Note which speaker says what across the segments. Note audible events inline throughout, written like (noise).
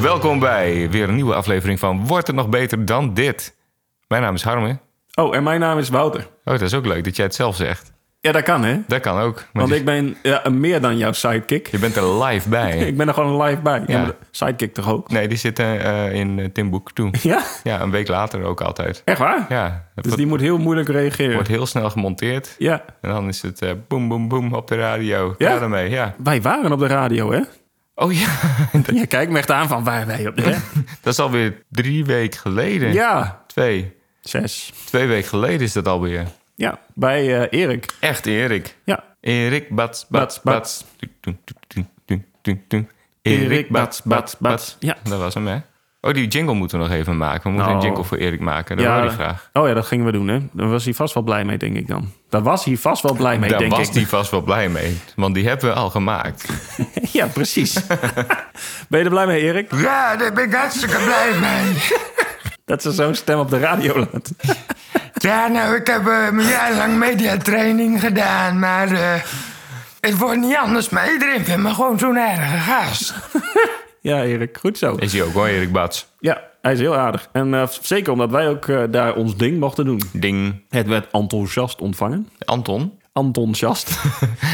Speaker 1: Welkom bij weer een nieuwe aflevering van Wordt het nog beter dan dit? Mijn naam is Harmen.
Speaker 2: Oh, en mijn naam is Wouter.
Speaker 1: Oh, dat is ook leuk dat jij het zelf zegt.
Speaker 2: Ja, dat kan hè?
Speaker 1: Dat kan ook. maar
Speaker 2: Want
Speaker 1: die-
Speaker 2: ik ben ja, meer dan jouw sidekick.
Speaker 1: Je bent er
Speaker 2: (laughs)
Speaker 1: live bij.
Speaker 2: Ik ben er gewoon live bij. Ja.
Speaker 1: Ja.
Speaker 2: maar sidekick toch ook?
Speaker 1: Nee, die zitten eh, in eh, Timbuktu.
Speaker 2: (laughs) Ja,
Speaker 1: Ja, een week later ook altijd.
Speaker 2: echt waar?
Speaker 1: Ja, dat
Speaker 2: Dus die moet heel moeilijk reageren.
Speaker 1: wordt heel snel gemonteerd.
Speaker 2: Ja.
Speaker 1: En dan is het eh boem, boem, boem op de radio.
Speaker 2: Ja?
Speaker 1: Ja, daarmee, ja.
Speaker 2: Wij waren op de radio, hè?
Speaker 1: Oh ja, (laughs)
Speaker 2: Je kijkt me echt aan van waar wij op de
Speaker 1: dat is alweer drie weken geleden.
Speaker 2: (laughs) Ja,
Speaker 1: Twee.
Speaker 2: zes.
Speaker 1: Twee weken geleden is dat alweer.
Speaker 2: Ja, bij eh, Erik.
Speaker 1: Echt, Erik.
Speaker 2: Ja.
Speaker 1: Erik, bats, bats,
Speaker 2: Bats,
Speaker 1: bats. Tuk, tuk, tuk, tuk, tuk, tuk. Erik, bats, bats, bats.
Speaker 2: Ja.
Speaker 1: Dat was hem, hè? Oh, die jingle moeten we nog even maken. We moeten
Speaker 2: Nou.
Speaker 1: een jingle voor Erik maken. Dat
Speaker 2: ja.
Speaker 1: hoor hij graag.
Speaker 2: Oh ja, dat gingen we doen, hè? Daar was hij vast wel blij mee, denk ik dan. Daar was hij vast wel blij mee,
Speaker 1: Daar
Speaker 2: denk
Speaker 1: was
Speaker 2: ik.
Speaker 1: hij vast wel blij mee. Want die hebben we al gemaakt.
Speaker 2: (laughs) Ja,
Speaker 1: (laughs)
Speaker 2: precies. ben je er blij mee, Erik?
Speaker 1: Ja, daar ben ik hartstikke blij mee.
Speaker 2: Dat ze zo'n stem op de radio laten.
Speaker 1: Ja, nou, ik heb eh, een jaar lang mediatraining gedaan, maar eh, het wordt niet anders. Maar iedereen vindt me gewoon zo'n aardige gast.
Speaker 2: Ja, Erik, goed zo.
Speaker 1: Is hij ook hoor, Erik Bats.
Speaker 2: Ja, hij is heel aardig. En eh, zeker omdat wij ook eh, daar ons ding mochten doen.
Speaker 1: Ding.
Speaker 2: Het werd enthousiast ontvangen.
Speaker 1: Anton.
Speaker 2: Enthousiast.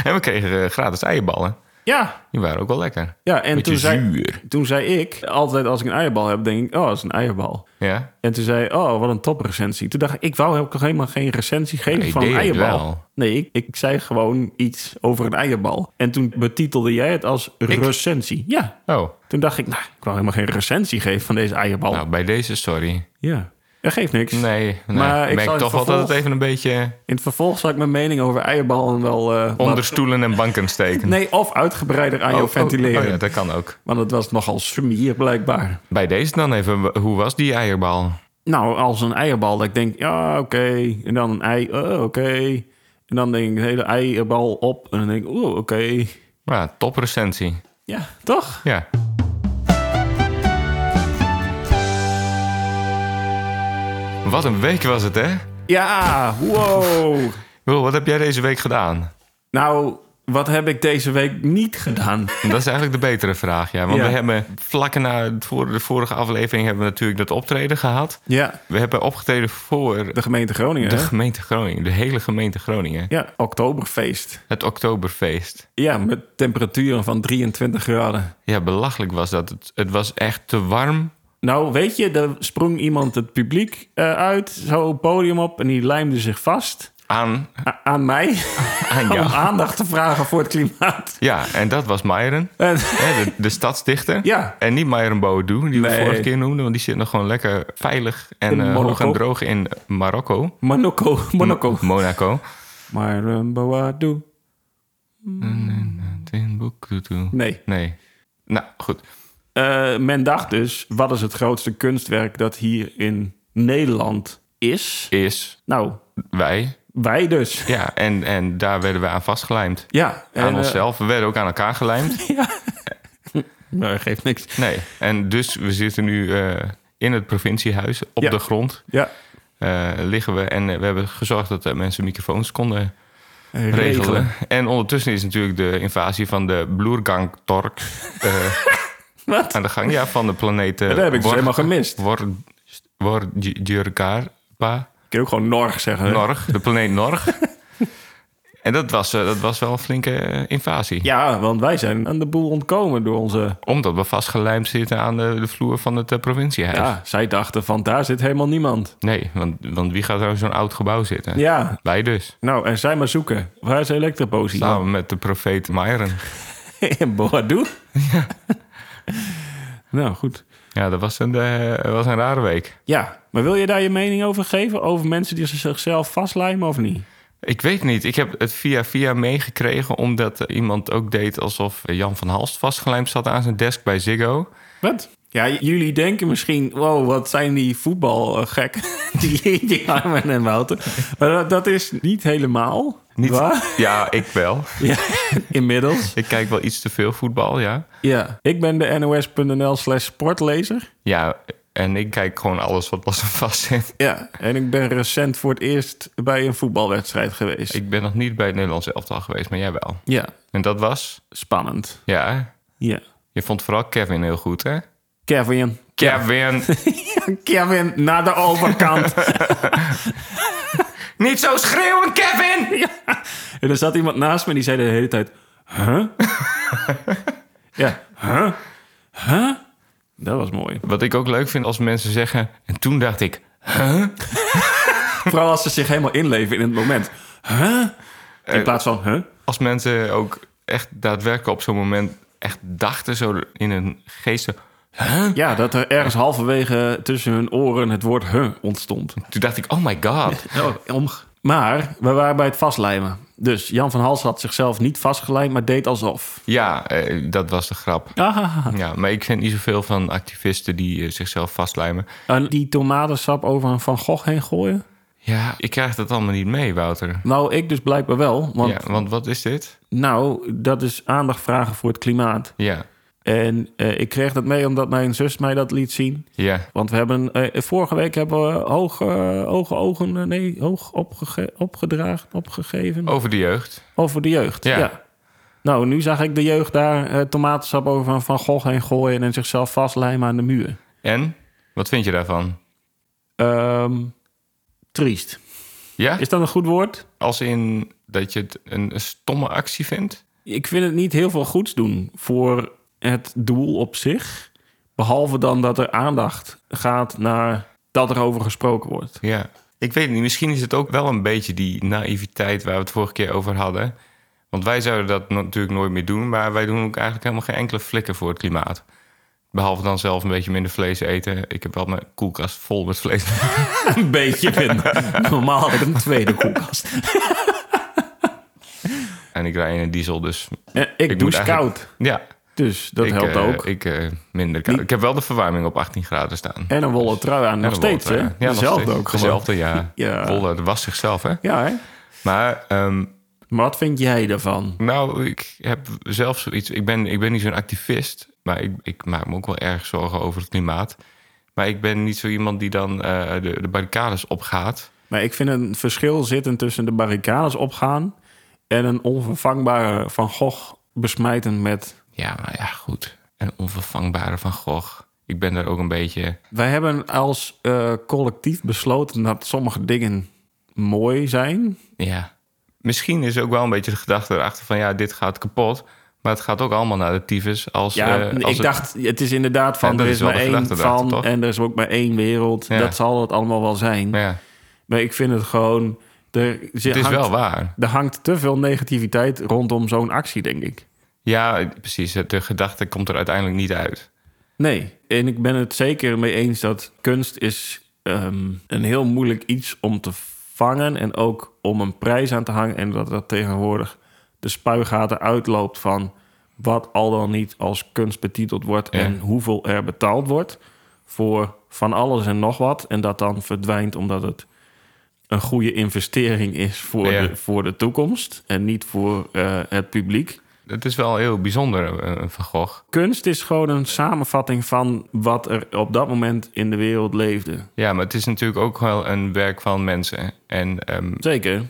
Speaker 1: En we kregen eh, gratis eierballen.
Speaker 2: ja,
Speaker 1: Die waren ook wel lekker.
Speaker 2: ja. En
Speaker 1: Beetje
Speaker 2: toen zei,
Speaker 1: zuur.
Speaker 2: toen zei ik, altijd als ik een eierbal heb, denk ik, oh, dat is een eierbal.
Speaker 1: Ja.
Speaker 2: En toen zei oh, wat een toprecensie. Toen dacht ik, ik wou ook nog helemaal geen recensie geven
Speaker 1: Nee,
Speaker 2: van een
Speaker 1: deed het
Speaker 2: eierbal.
Speaker 1: wel.
Speaker 2: Nee, ik, ik zei gewoon iets over een eierbal. En toen betitelde jij het als recensie. Ja,
Speaker 1: Oh,
Speaker 2: toen dacht ik, nou, ik wou helemaal geen recensie geven van deze eierbal.
Speaker 1: nou bij deze sorry.
Speaker 2: Ja, dat geeft niks.
Speaker 1: Nee, nee.
Speaker 2: Maar ik
Speaker 1: ik
Speaker 2: zal
Speaker 1: merk toch wel
Speaker 2: in
Speaker 1: dat
Speaker 2: vervolg-
Speaker 1: het even een beetje
Speaker 2: In het vervolg zal ik mijn mening over eierballen wel... eh, laten-
Speaker 1: onder stoelen en banken steken.
Speaker 2: Nee, of uitgebreider aan
Speaker 1: Oh,
Speaker 2: jou
Speaker 1: oh,
Speaker 2: ventileren.
Speaker 1: oh ja, dat kan ook.
Speaker 2: Want het was nogal sumier blijkbaar.
Speaker 1: Bij deze dan even, w- hoe was die eierbal?
Speaker 2: Nou, als een eierbal. Dat ik denk, ja, oké. En dan een ei, eh, oké. En dan denk ik een hele eierbal op. En dan denk ik, oeh, oké.
Speaker 1: Nou, top recensie.
Speaker 2: Ja, toch?
Speaker 1: Ja. Wat een week was het, hè?
Speaker 2: Ja, wow.
Speaker 1: Wil, wat heb jij deze week gedaan?
Speaker 2: nou, wat heb ik deze week niet gedaan? (laughs)
Speaker 1: Dat is eigenlijk de betere vraag, ja. Want
Speaker 2: Ja.
Speaker 1: we hebben vlak na het voor de vorige aflevering hebben we natuurlijk dat optreden gehad.
Speaker 2: Ja,
Speaker 1: We hebben opgetreden voor
Speaker 2: de gemeente Groningen.
Speaker 1: de
Speaker 2: hè?
Speaker 1: gemeente Groningen, de hele gemeente Groningen.
Speaker 2: ja, oktoberfeest.
Speaker 1: Het Oktoberfeest.
Speaker 2: Ja, met temperaturen van 23 graden.
Speaker 1: Ja, belachelijk was dat. Het, het was echt te warm.
Speaker 2: Nou, weet je, er sprong iemand het publiek eh, uit, zo het podium op, en die lijmde zich vast
Speaker 1: Aan,
Speaker 2: a- aan mij
Speaker 1: (laughs) aan
Speaker 2: om
Speaker 1: jou.
Speaker 2: aandacht te vragen voor het klimaat.
Speaker 1: Ja, en dat was Meiren,
Speaker 2: En, (laughs)
Speaker 1: hè, de, de stadsdichter.
Speaker 2: Ja.
Speaker 1: En niet Meiren Boadu, die
Speaker 2: Nee.
Speaker 1: we vorige keer noemden, want die zit nog gewoon lekker veilig en
Speaker 2: In
Speaker 1: eh, hoog en
Speaker 2: Monaco.
Speaker 1: droog in Marokko.
Speaker 2: Monaco, Monaco.
Speaker 1: Monaco.
Speaker 2: Maar een Boadu.
Speaker 1: Timbuktu.
Speaker 2: Nee.
Speaker 1: Nee. Nou, goed.
Speaker 2: Eh, men dacht dus, wat is het grootste kunstwerk dat hier in Nederland is?
Speaker 1: Is
Speaker 2: Nou,
Speaker 1: wij.
Speaker 2: wij dus.
Speaker 1: Ja, en, en daar werden we aan vastgelijmd.
Speaker 2: Ja.
Speaker 1: Aan
Speaker 2: en, eh,
Speaker 1: onszelf. We werden ook aan elkaar gelijmd.
Speaker 2: (laughs) nou, geeft niks.
Speaker 1: Nee. En dus we zitten nu eh, in het provinciehuis op
Speaker 2: Ja.
Speaker 1: de grond.
Speaker 2: Ja.
Speaker 1: eh, liggen we. En eh, we hebben gezorgd dat eh, mensen microfoons konden
Speaker 2: Regelen.
Speaker 1: regelen. En ondertussen is natuurlijk de invasie van de Bloergang-tork eh,
Speaker 2: (laughs) Wat?
Speaker 1: aan de gang. Ja, van de planeet... eh,
Speaker 2: Dat heb ik dus
Speaker 1: Wor-
Speaker 2: helemaal gemist.
Speaker 1: Wor- Wor- Dj- Djurgarpa.
Speaker 2: Kun je ook gewoon Norg zeggen. hè?
Speaker 1: Norg. De planeet
Speaker 2: (laughs)
Speaker 1: Norg. en dat was, eh, dat was wel een flinke eh, invasie.
Speaker 2: Ja, want wij zijn aan de boel ontkomen door onze
Speaker 1: Omdat we vastgelijmd zitten aan de, de vloer van het eh, provinciehuis.
Speaker 2: Ja, zij dachten van daar zit helemaal niemand.
Speaker 1: Nee, want, want wie gaat er in zo'n oud gebouw zitten?
Speaker 2: Ja,
Speaker 1: Wij dus.
Speaker 2: nou en zij maar zoeken. Waar is de elektropotie? (laughs)
Speaker 1: Samen met de profeet Myron.
Speaker 2: En Boadu. (laughs) nou, goed.
Speaker 1: Ja, dat was een, eh, was een rare week.
Speaker 2: Ja, maar wil je daar je mening over geven? Over mensen die zichzelf vastlijmen of niet?
Speaker 1: Ik weet niet. Ik heb het via via meegekregen omdat eh, iemand ook deed alsof Jan van Halst vastgelijmd zat aan zijn desk bij Ziggo.
Speaker 2: Wat? Ja, j- jullie denken misschien, wow, wat zijn die voetbalgek, (laughs) die, die Armen en Wouter. Maar dat, dat is niet helemaal
Speaker 1: Niet-
Speaker 2: waar.
Speaker 1: Ja, ik wel.
Speaker 2: Ja, (laughs) inmiddels.
Speaker 1: Ik kijk wel iets te veel voetbal, ja.
Speaker 2: Ja. Ik ben de nos.nl slash sportlezer.
Speaker 1: Ja, en ik kijk gewoon alles wat los en vast zit.
Speaker 2: Ja, en ik ben recent voor het eerst bij een voetbalwedstrijd geweest.
Speaker 1: Ik ben nog niet bij het Nederlands elftal geweest, maar jij wel.
Speaker 2: Ja,
Speaker 1: En dat was,
Speaker 2: spannend.
Speaker 1: ja,
Speaker 2: Ja.
Speaker 1: je vond vooral Kevin heel goed, hè?
Speaker 2: Kevin.
Speaker 3: Kevin.
Speaker 1: (laughs)
Speaker 2: Kevin naar de overkant.
Speaker 3: Niet zo schreeuwen, Kevin!
Speaker 2: (laughs) en er zat iemand naast me die zei de hele tijd... (laughs) Huh? ja, huh? Huh? Dat was mooi.
Speaker 1: Wat ik ook leuk vind als mensen zeggen... En toen dacht ik...
Speaker 2: Vooral als ze zich helemaal inleven in het moment. Huh? In plaats van huh?
Speaker 1: Als mensen ook echt daadwerkelijk op zo'n moment... echt dachten zo in hun geesten...
Speaker 2: Ja, dat er ergens halverwege tussen hun oren het woord huh ontstond.
Speaker 1: Toen dacht ik, oh my god.
Speaker 2: Oh, om. Maar we waren bij het vastlijmen. Dus Jan van Hals had zichzelf niet vastgelijmd, maar deed alsof.
Speaker 1: Ja, eh, dat was de grap.
Speaker 2: Ah,
Speaker 1: Ja, maar ik vind niet zoveel van activisten die eh, zichzelf vastlijmen.
Speaker 2: en die tomatensap over een Van Gogh heen gooien?
Speaker 1: Ja, ik krijg dat allemaal niet mee, Wouter.
Speaker 2: Nou, ik dus blijkbaar wel. Want
Speaker 1: ja, want wat is dit?
Speaker 2: nou, dat is aandacht vragen voor het klimaat.
Speaker 1: Ja,
Speaker 2: En eh, ik kreeg dat mee omdat mijn zus mij dat liet zien.
Speaker 1: ja.
Speaker 2: Want we hebben eh, vorige week hebben we hoge, hoge ogen, eh, nee, hoog opgege- opgedragen, opgegeven.
Speaker 1: Over de jeugd.
Speaker 2: Over de jeugd,
Speaker 1: Ja.
Speaker 2: ja. Nou, nu zag ik de jeugd daar eh, tomatensap over van Van Gogh heen gooien... en zichzelf vastlijmen aan de muur.
Speaker 1: En? Wat vind je daarvan?
Speaker 2: Ehm, triest.
Speaker 1: Ja?
Speaker 2: Is dat een goed woord?
Speaker 1: Als in dat je het een een stomme actie vindt?
Speaker 2: Ik vind het niet heel veel goeds doen voor het doel op zich. Behalve dan dat er aandacht gaat naar dat er over gesproken
Speaker 1: (laughs)
Speaker 2: wordt.
Speaker 1: Ja. Ik weet niet, misschien is het ook wel een beetje die naïviteit waar we het vorige keer over hadden. Want wij zouden dat no- natuurlijk nooit meer doen, maar wij doen ook eigenlijk helemaal geen enkele flikker voor het klimaat. Behalve dan zelf een beetje minder vlees eten. Ik heb wel mijn koelkast vol met vlees. (laughs)
Speaker 2: Een beetje minder. Normaal had ik een tweede koelkast.
Speaker 1: en ik rij in een diesel, dus
Speaker 2: Eh, ik,
Speaker 1: moet
Speaker 2: douche
Speaker 1: eigenlijk-
Speaker 2: koud,
Speaker 1: ja.
Speaker 2: dus dat
Speaker 1: ik,
Speaker 2: helpt
Speaker 1: eh,
Speaker 2: ook.
Speaker 1: Ik eh, minder koud.
Speaker 2: Die-
Speaker 1: Ik heb wel de verwarming op 18 graden staan.
Speaker 2: en een wollen trui aan, nog
Speaker 1: En
Speaker 2: steeds,
Speaker 1: wollen
Speaker 2: hè?
Speaker 1: trui. Ja, nog
Speaker 2: Dezelfde
Speaker 1: steeds.
Speaker 2: ook gewoon.
Speaker 1: Dezelfde, ja.
Speaker 2: (laughs) Ja.
Speaker 1: Wollen, dat was zichzelf, hè?
Speaker 2: Ja, hè?
Speaker 1: Maar ehm,
Speaker 2: Maar wat vind jij daarvan?
Speaker 1: Nou, ik heb zelf zoiets. Ik ben, ik ben niet zo'n activist, maar ik, ik maak me ook wel erg zorgen over het klimaat. Maar ik ben niet zo iemand die dan eh, de, de barricades opgaat.
Speaker 2: Maar ik vind een verschil zitten tussen de barricades opgaan... en een onvervangbare Van Gogh besmijten met
Speaker 1: Ja, maar ja, goed. Een onvervangbare Van Gogh. Ik ben daar ook een beetje...
Speaker 2: Wij hebben als eh, collectief besloten dat sommige dingen mooi zijn.
Speaker 1: Ja. Misschien is ook wel een beetje de gedachte erachter van... ja, dit gaat kapot, maar het gaat ook allemaal naar de tyfus. Als,
Speaker 2: Ja,
Speaker 1: eh, als
Speaker 2: ik
Speaker 1: het-
Speaker 2: dacht, het is inderdaad
Speaker 1: Ja,
Speaker 2: van,
Speaker 1: dat
Speaker 2: er
Speaker 1: is
Speaker 2: is
Speaker 1: wel
Speaker 2: maar
Speaker 1: de
Speaker 2: één
Speaker 1: gedachte erachter,
Speaker 2: van
Speaker 1: toch?
Speaker 2: en er is ook maar één wereld.
Speaker 1: Ja.
Speaker 2: Dat zal het allemaal wel zijn.
Speaker 1: Ja,
Speaker 2: Maar ik vind het gewoon, er, ze
Speaker 1: het is
Speaker 2: hangt,
Speaker 1: wel waar.
Speaker 2: er hangt te veel negativiteit rondom zo'n actie, denk ik.
Speaker 1: Ja, precies. De gedachte komt er uiteindelijk niet uit.
Speaker 2: Nee, en ik ben het zeker mee eens dat kunst is ehm, een heel moeilijk iets om te vangen en ook om een prijs aan te hangen en dat dat tegenwoordig de spuigaten uitloopt van wat al dan niet als kunst betiteld wordt
Speaker 1: Ja.
Speaker 2: en hoeveel er betaald wordt voor van alles en nog wat en dat dan verdwijnt omdat het een goede investering is voor,
Speaker 1: Ja.
Speaker 2: de, voor de toekomst en niet voor eh, het publiek
Speaker 1: Het is wel heel bijzonder, eh, Van Gogh.
Speaker 2: kunst is gewoon een samenvatting van wat er op dat moment in de wereld leefde.
Speaker 1: Ja, maar het is natuurlijk ook wel een werk van mensen. En ehm,
Speaker 2: Zeker.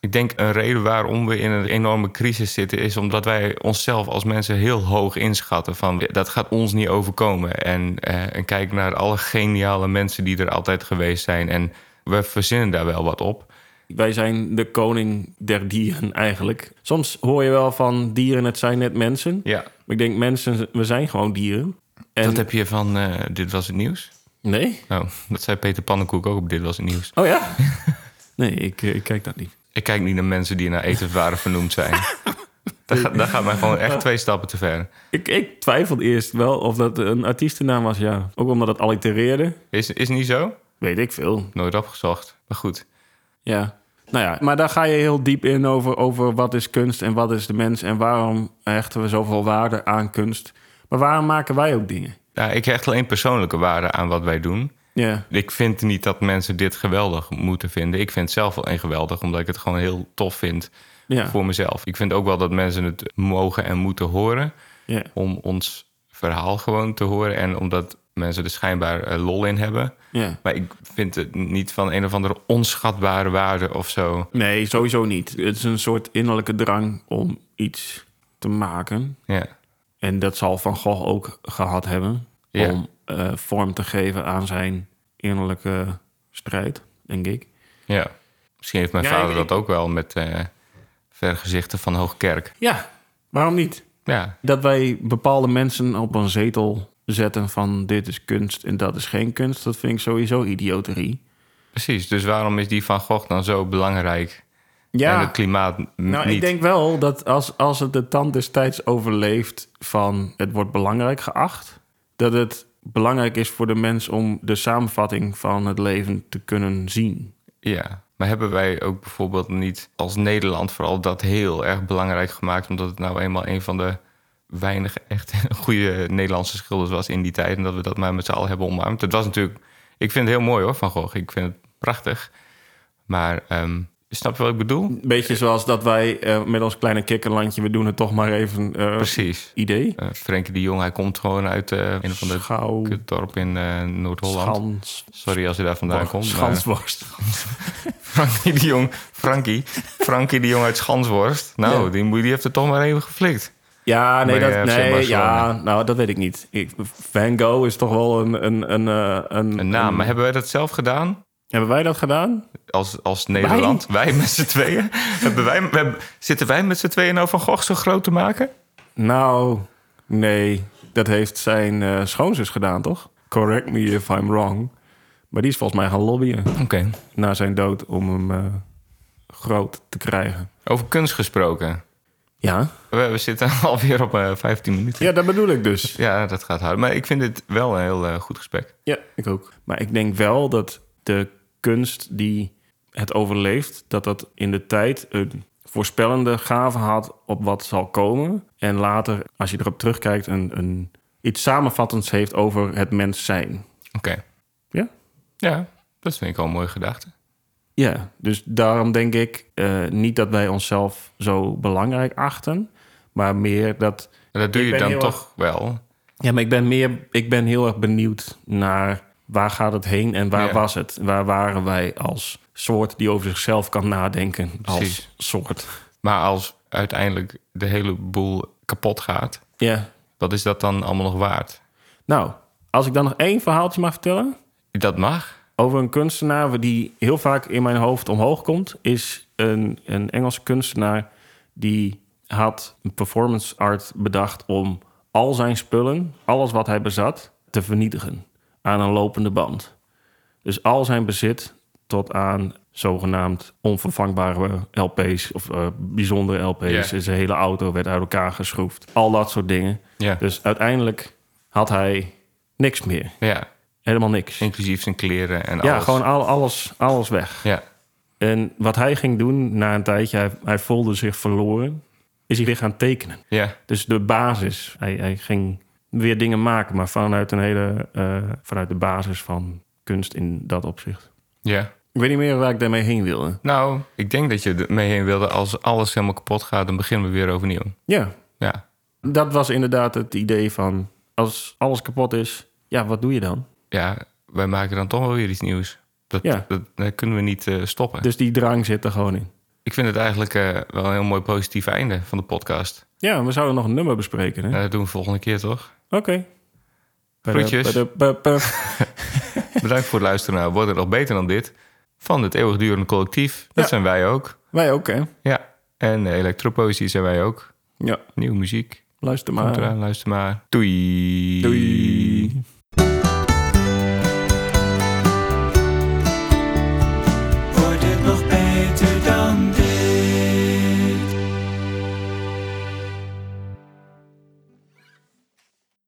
Speaker 1: ik denk een reden waarom we in een enorme crisis zitten... is omdat wij onszelf als mensen heel hoog inschatten van... dat gaat ons niet overkomen. En, eh, en kijk naar alle geniale mensen die er altijd geweest zijn. En we verzinnen daar wel wat op.
Speaker 2: Wij zijn de koning der dieren eigenlijk. Soms hoor je wel van dieren, het zijn net mensen.
Speaker 1: Ja,
Speaker 2: Maar ik denk mensen, we zijn gewoon dieren. En,
Speaker 1: dat heb je van eh, Dit Was Het Nieuws.
Speaker 2: Nee?
Speaker 1: Nou, dat zei Peter Pannenkoek ook op Dit Was Het Nieuws.
Speaker 2: Oh
Speaker 1: (laughs)
Speaker 2: ja? nee, ik, eh, ik kijk dat niet.
Speaker 1: Ik kijk niet naar mensen die naar etenswaren vernoemd (laughs) zijn. Dat gaat, dat gaat mij gewoon echt twee stappen te ver.
Speaker 2: Ik, ik twijfelde eerst wel of dat een artiestennaam was, ja. Ook omdat het allitereerde.
Speaker 1: Is, is niet zo?
Speaker 2: Weet ik veel.
Speaker 1: Nooit opgezocht. Maar goed.
Speaker 2: Ja. Nou ja, maar daar ga je heel diep in over, over wat is kunst en wat is de mens en waarom hechten we zoveel waarde aan kunst. Maar waarom maken wij ook dingen?
Speaker 1: Nou, ik hecht alleen persoonlijke waarde aan wat wij doen.
Speaker 2: Ja,
Speaker 1: Ik vind niet dat mensen dit geweldig moeten vinden. Ik vind het zelf wel een geweldig, omdat ik het gewoon heel tof vind
Speaker 2: ja,
Speaker 1: voor mezelf. Ik vind ook wel dat mensen het mogen en moeten horen.
Speaker 2: ja.
Speaker 1: Om ons verhaal gewoon te horen. En omdat mensen er schijnbaar eh, lol in hebben.
Speaker 2: ja.
Speaker 1: Maar ik vind het niet van een of andere onschatbare waarde of zo.
Speaker 2: Nee, sowieso niet. Het is een soort innerlijke drang om iets te maken.
Speaker 1: Ja.
Speaker 2: En dat zal Van Gogh ook gehad hebben.
Speaker 1: Ja.
Speaker 2: om eh, vorm te geven aan zijn innerlijke strijd, denk ik.
Speaker 1: Ja. Misschien heeft mijn
Speaker 2: Ja,
Speaker 1: vader
Speaker 2: ik-
Speaker 1: dat ook wel met eh, vergezichten van Hoogkerk.
Speaker 2: Ja, waarom niet?
Speaker 1: Ja,
Speaker 2: Dat wij bepaalde mensen op een zetel zetten van dit is kunst en dat is geen kunst, dat vind ik sowieso idioterie.
Speaker 1: precies. Dus waarom is die van Gogh dan zo belangrijk en het klimaat m-
Speaker 2: Nou,
Speaker 1: niet?
Speaker 2: ik denk wel dat als, als het de tand destijds overleeft van het wordt belangrijk geacht, dat het belangrijk is voor de mens om de samenvatting van het leven te kunnen zien.
Speaker 1: Ja, maar hebben wij ook bijvoorbeeld niet als Nederland vooral dat heel erg belangrijk gemaakt... omdat het nou eenmaal een van de weinige echt (laughs) goede Nederlandse schilders was in die tijd... en dat we dat maar met z'n allen hebben omarmd. Het was natuurlijk... Ik vind het heel mooi hoor, Van Gogh. Ik vind het prachtig. Maar ehm, snap je wat ik bedoel?
Speaker 2: Beetje zoals dat wij eh, met ons kleine kikkerlandje, we doen het toch maar even eh,
Speaker 1: Precies.
Speaker 2: idee.
Speaker 1: Eh Frenkie de Jong, hij komt gewoon uit eh, een van de
Speaker 2: Schouw,
Speaker 1: dorp in eh, Noord-Holland.
Speaker 2: schans,
Speaker 1: Sorry als je daar vandaan komt. maar-
Speaker 2: schansworst.
Speaker 1: Frankie de Jong, Frankie, Frankie de Jong uit Schansworst. Nou,
Speaker 2: Ja.
Speaker 1: die, moet- die heeft het toch maar even geflikt.
Speaker 2: Ja, nee,
Speaker 1: Bij, eh,
Speaker 2: dat,
Speaker 1: FC
Speaker 2: nee ja,
Speaker 1: Barcelona.
Speaker 2: nou, dat weet ik niet. Ik, Van Gogh is toch wel een... een, een, eh, een,
Speaker 1: Een naam. nou, Maar hebben wij dat zelf gedaan?
Speaker 2: Hebben wij dat gedaan?
Speaker 1: Als, als Nederland, wij, met z'n (laughs) tweeën. hebben wij, we hebben- zitten wij met z'n tweeën nou Van Gogh zo groot te maken?
Speaker 2: Nou, nee. Dat heeft zijn eh, schoonzus gedaan, toch? Correct me if I'm wrong. Maar die is volgens mij gaan lobbyen
Speaker 1: Oké.
Speaker 2: na zijn dood om hem eh, groot te krijgen.
Speaker 1: Over kunst gesproken.
Speaker 2: Ja?
Speaker 1: We, we zitten (laughs) alweer op eh 15 minuten.
Speaker 2: Ja, dat bedoel ik dus.
Speaker 1: Ja, dat gaat hard. Maar ik vind dit wel een heel eh, goed gesprek.
Speaker 2: Ja, ik ook. Maar ik denk wel dat de kunst die het overleeft, dat dat in de tijd een voorspellende gave had op wat zal komen. En later, als je erop terugkijkt, een, een iets samenvattends heeft over het mens zijn.
Speaker 1: Oké.
Speaker 2: Ja?
Speaker 1: Ja, dat vind ik al een mooie gedachte.
Speaker 2: Ja, dus daarom denk ik eh, niet dat wij onszelf zo belangrijk achten, maar meer dat.
Speaker 1: En dat doe
Speaker 2: Ik
Speaker 1: je
Speaker 2: ben
Speaker 1: dan
Speaker 2: heel
Speaker 1: toch wel.
Speaker 2: Ja, maar ik ben meer. Ik ben heel erg benieuwd naar waar gaat het heen en waar
Speaker 1: Ja.
Speaker 2: was het? Waar waren wij als soort die over zichzelf kan nadenken als
Speaker 1: Precies.
Speaker 2: soort?
Speaker 1: Maar als uiteindelijk de hele boel kapot gaat,
Speaker 2: Ja.
Speaker 1: wat is dat dan allemaal nog waard?
Speaker 2: Nou, als ik dan nog één verhaaltje mag vertellen
Speaker 1: Dat mag.
Speaker 2: over een kunstenaar die heel vaak in mijn hoofd omhoog komt, is een, een Engelse kunstenaar die had een performance art bedacht om al zijn spullen, alles wat hij bezat, te vernietigen aan een lopende band. Dus al zijn bezit tot aan zogenaamd onvervangbare LP's of eh, bijzondere LP's.
Speaker 1: Ja.
Speaker 2: Zijn hele auto werd uit elkaar geschroefd. Al dat soort dingen.
Speaker 1: Ja.
Speaker 2: Dus uiteindelijk had hij niks meer.
Speaker 1: ja.
Speaker 2: Helemaal niks.
Speaker 1: Inclusief zijn kleren en
Speaker 2: Ja,
Speaker 1: alles.
Speaker 2: gewoon al, alles, alles weg.
Speaker 1: Ja.
Speaker 2: En wat hij ging doen na een tijdje, hij, hij voelde zich verloren, is hij weer gaan tekenen.
Speaker 1: Ja.
Speaker 2: Dus de basis, hij, hij ging weer dingen maken, maar vanuit, een hele, eh, vanuit de basis van kunst in dat opzicht.
Speaker 1: Ja.
Speaker 2: Ik weet niet meer waar ik daarmee heen wilde.
Speaker 1: Nou, ik denk dat je er mee heen wilde. Als alles helemaal kapot gaat, dan beginnen we weer overnieuw.
Speaker 2: Ja,
Speaker 1: Ja.
Speaker 2: dat was inderdaad het idee van, als alles kapot is, ja, wat doe je dan?
Speaker 1: Ja, wij maken dan toch wel weer iets nieuws. Dat,
Speaker 2: Ja.
Speaker 1: dat, dat kunnen we niet eh, stoppen.
Speaker 2: Dus die drang zit er gewoon in.
Speaker 1: Ik vind het eigenlijk eh, wel een heel mooi positief einde van de podcast.
Speaker 2: Ja, we zouden nog een nummer bespreken, hè?
Speaker 1: Nou, dat doen we volgende keer, toch?
Speaker 2: Oké.
Speaker 1: Groetjes.
Speaker 2: Ba-da-ba-ba.
Speaker 1: Bedankt voor het luisteren naar Wordt het nog beter dan dit? Van het eeuwigdurende collectief. Dat
Speaker 2: Ja.
Speaker 1: zijn wij ook.
Speaker 2: (laughs) Wij ook, hè?
Speaker 1: Ja. En eh, elektropoëzie zijn wij ook.
Speaker 2: Ja,
Speaker 1: Nieuwe muziek.
Speaker 2: luister
Speaker 1: Komt
Speaker 2: maar.
Speaker 1: eraan, luister maar. Doei.
Speaker 2: Doei.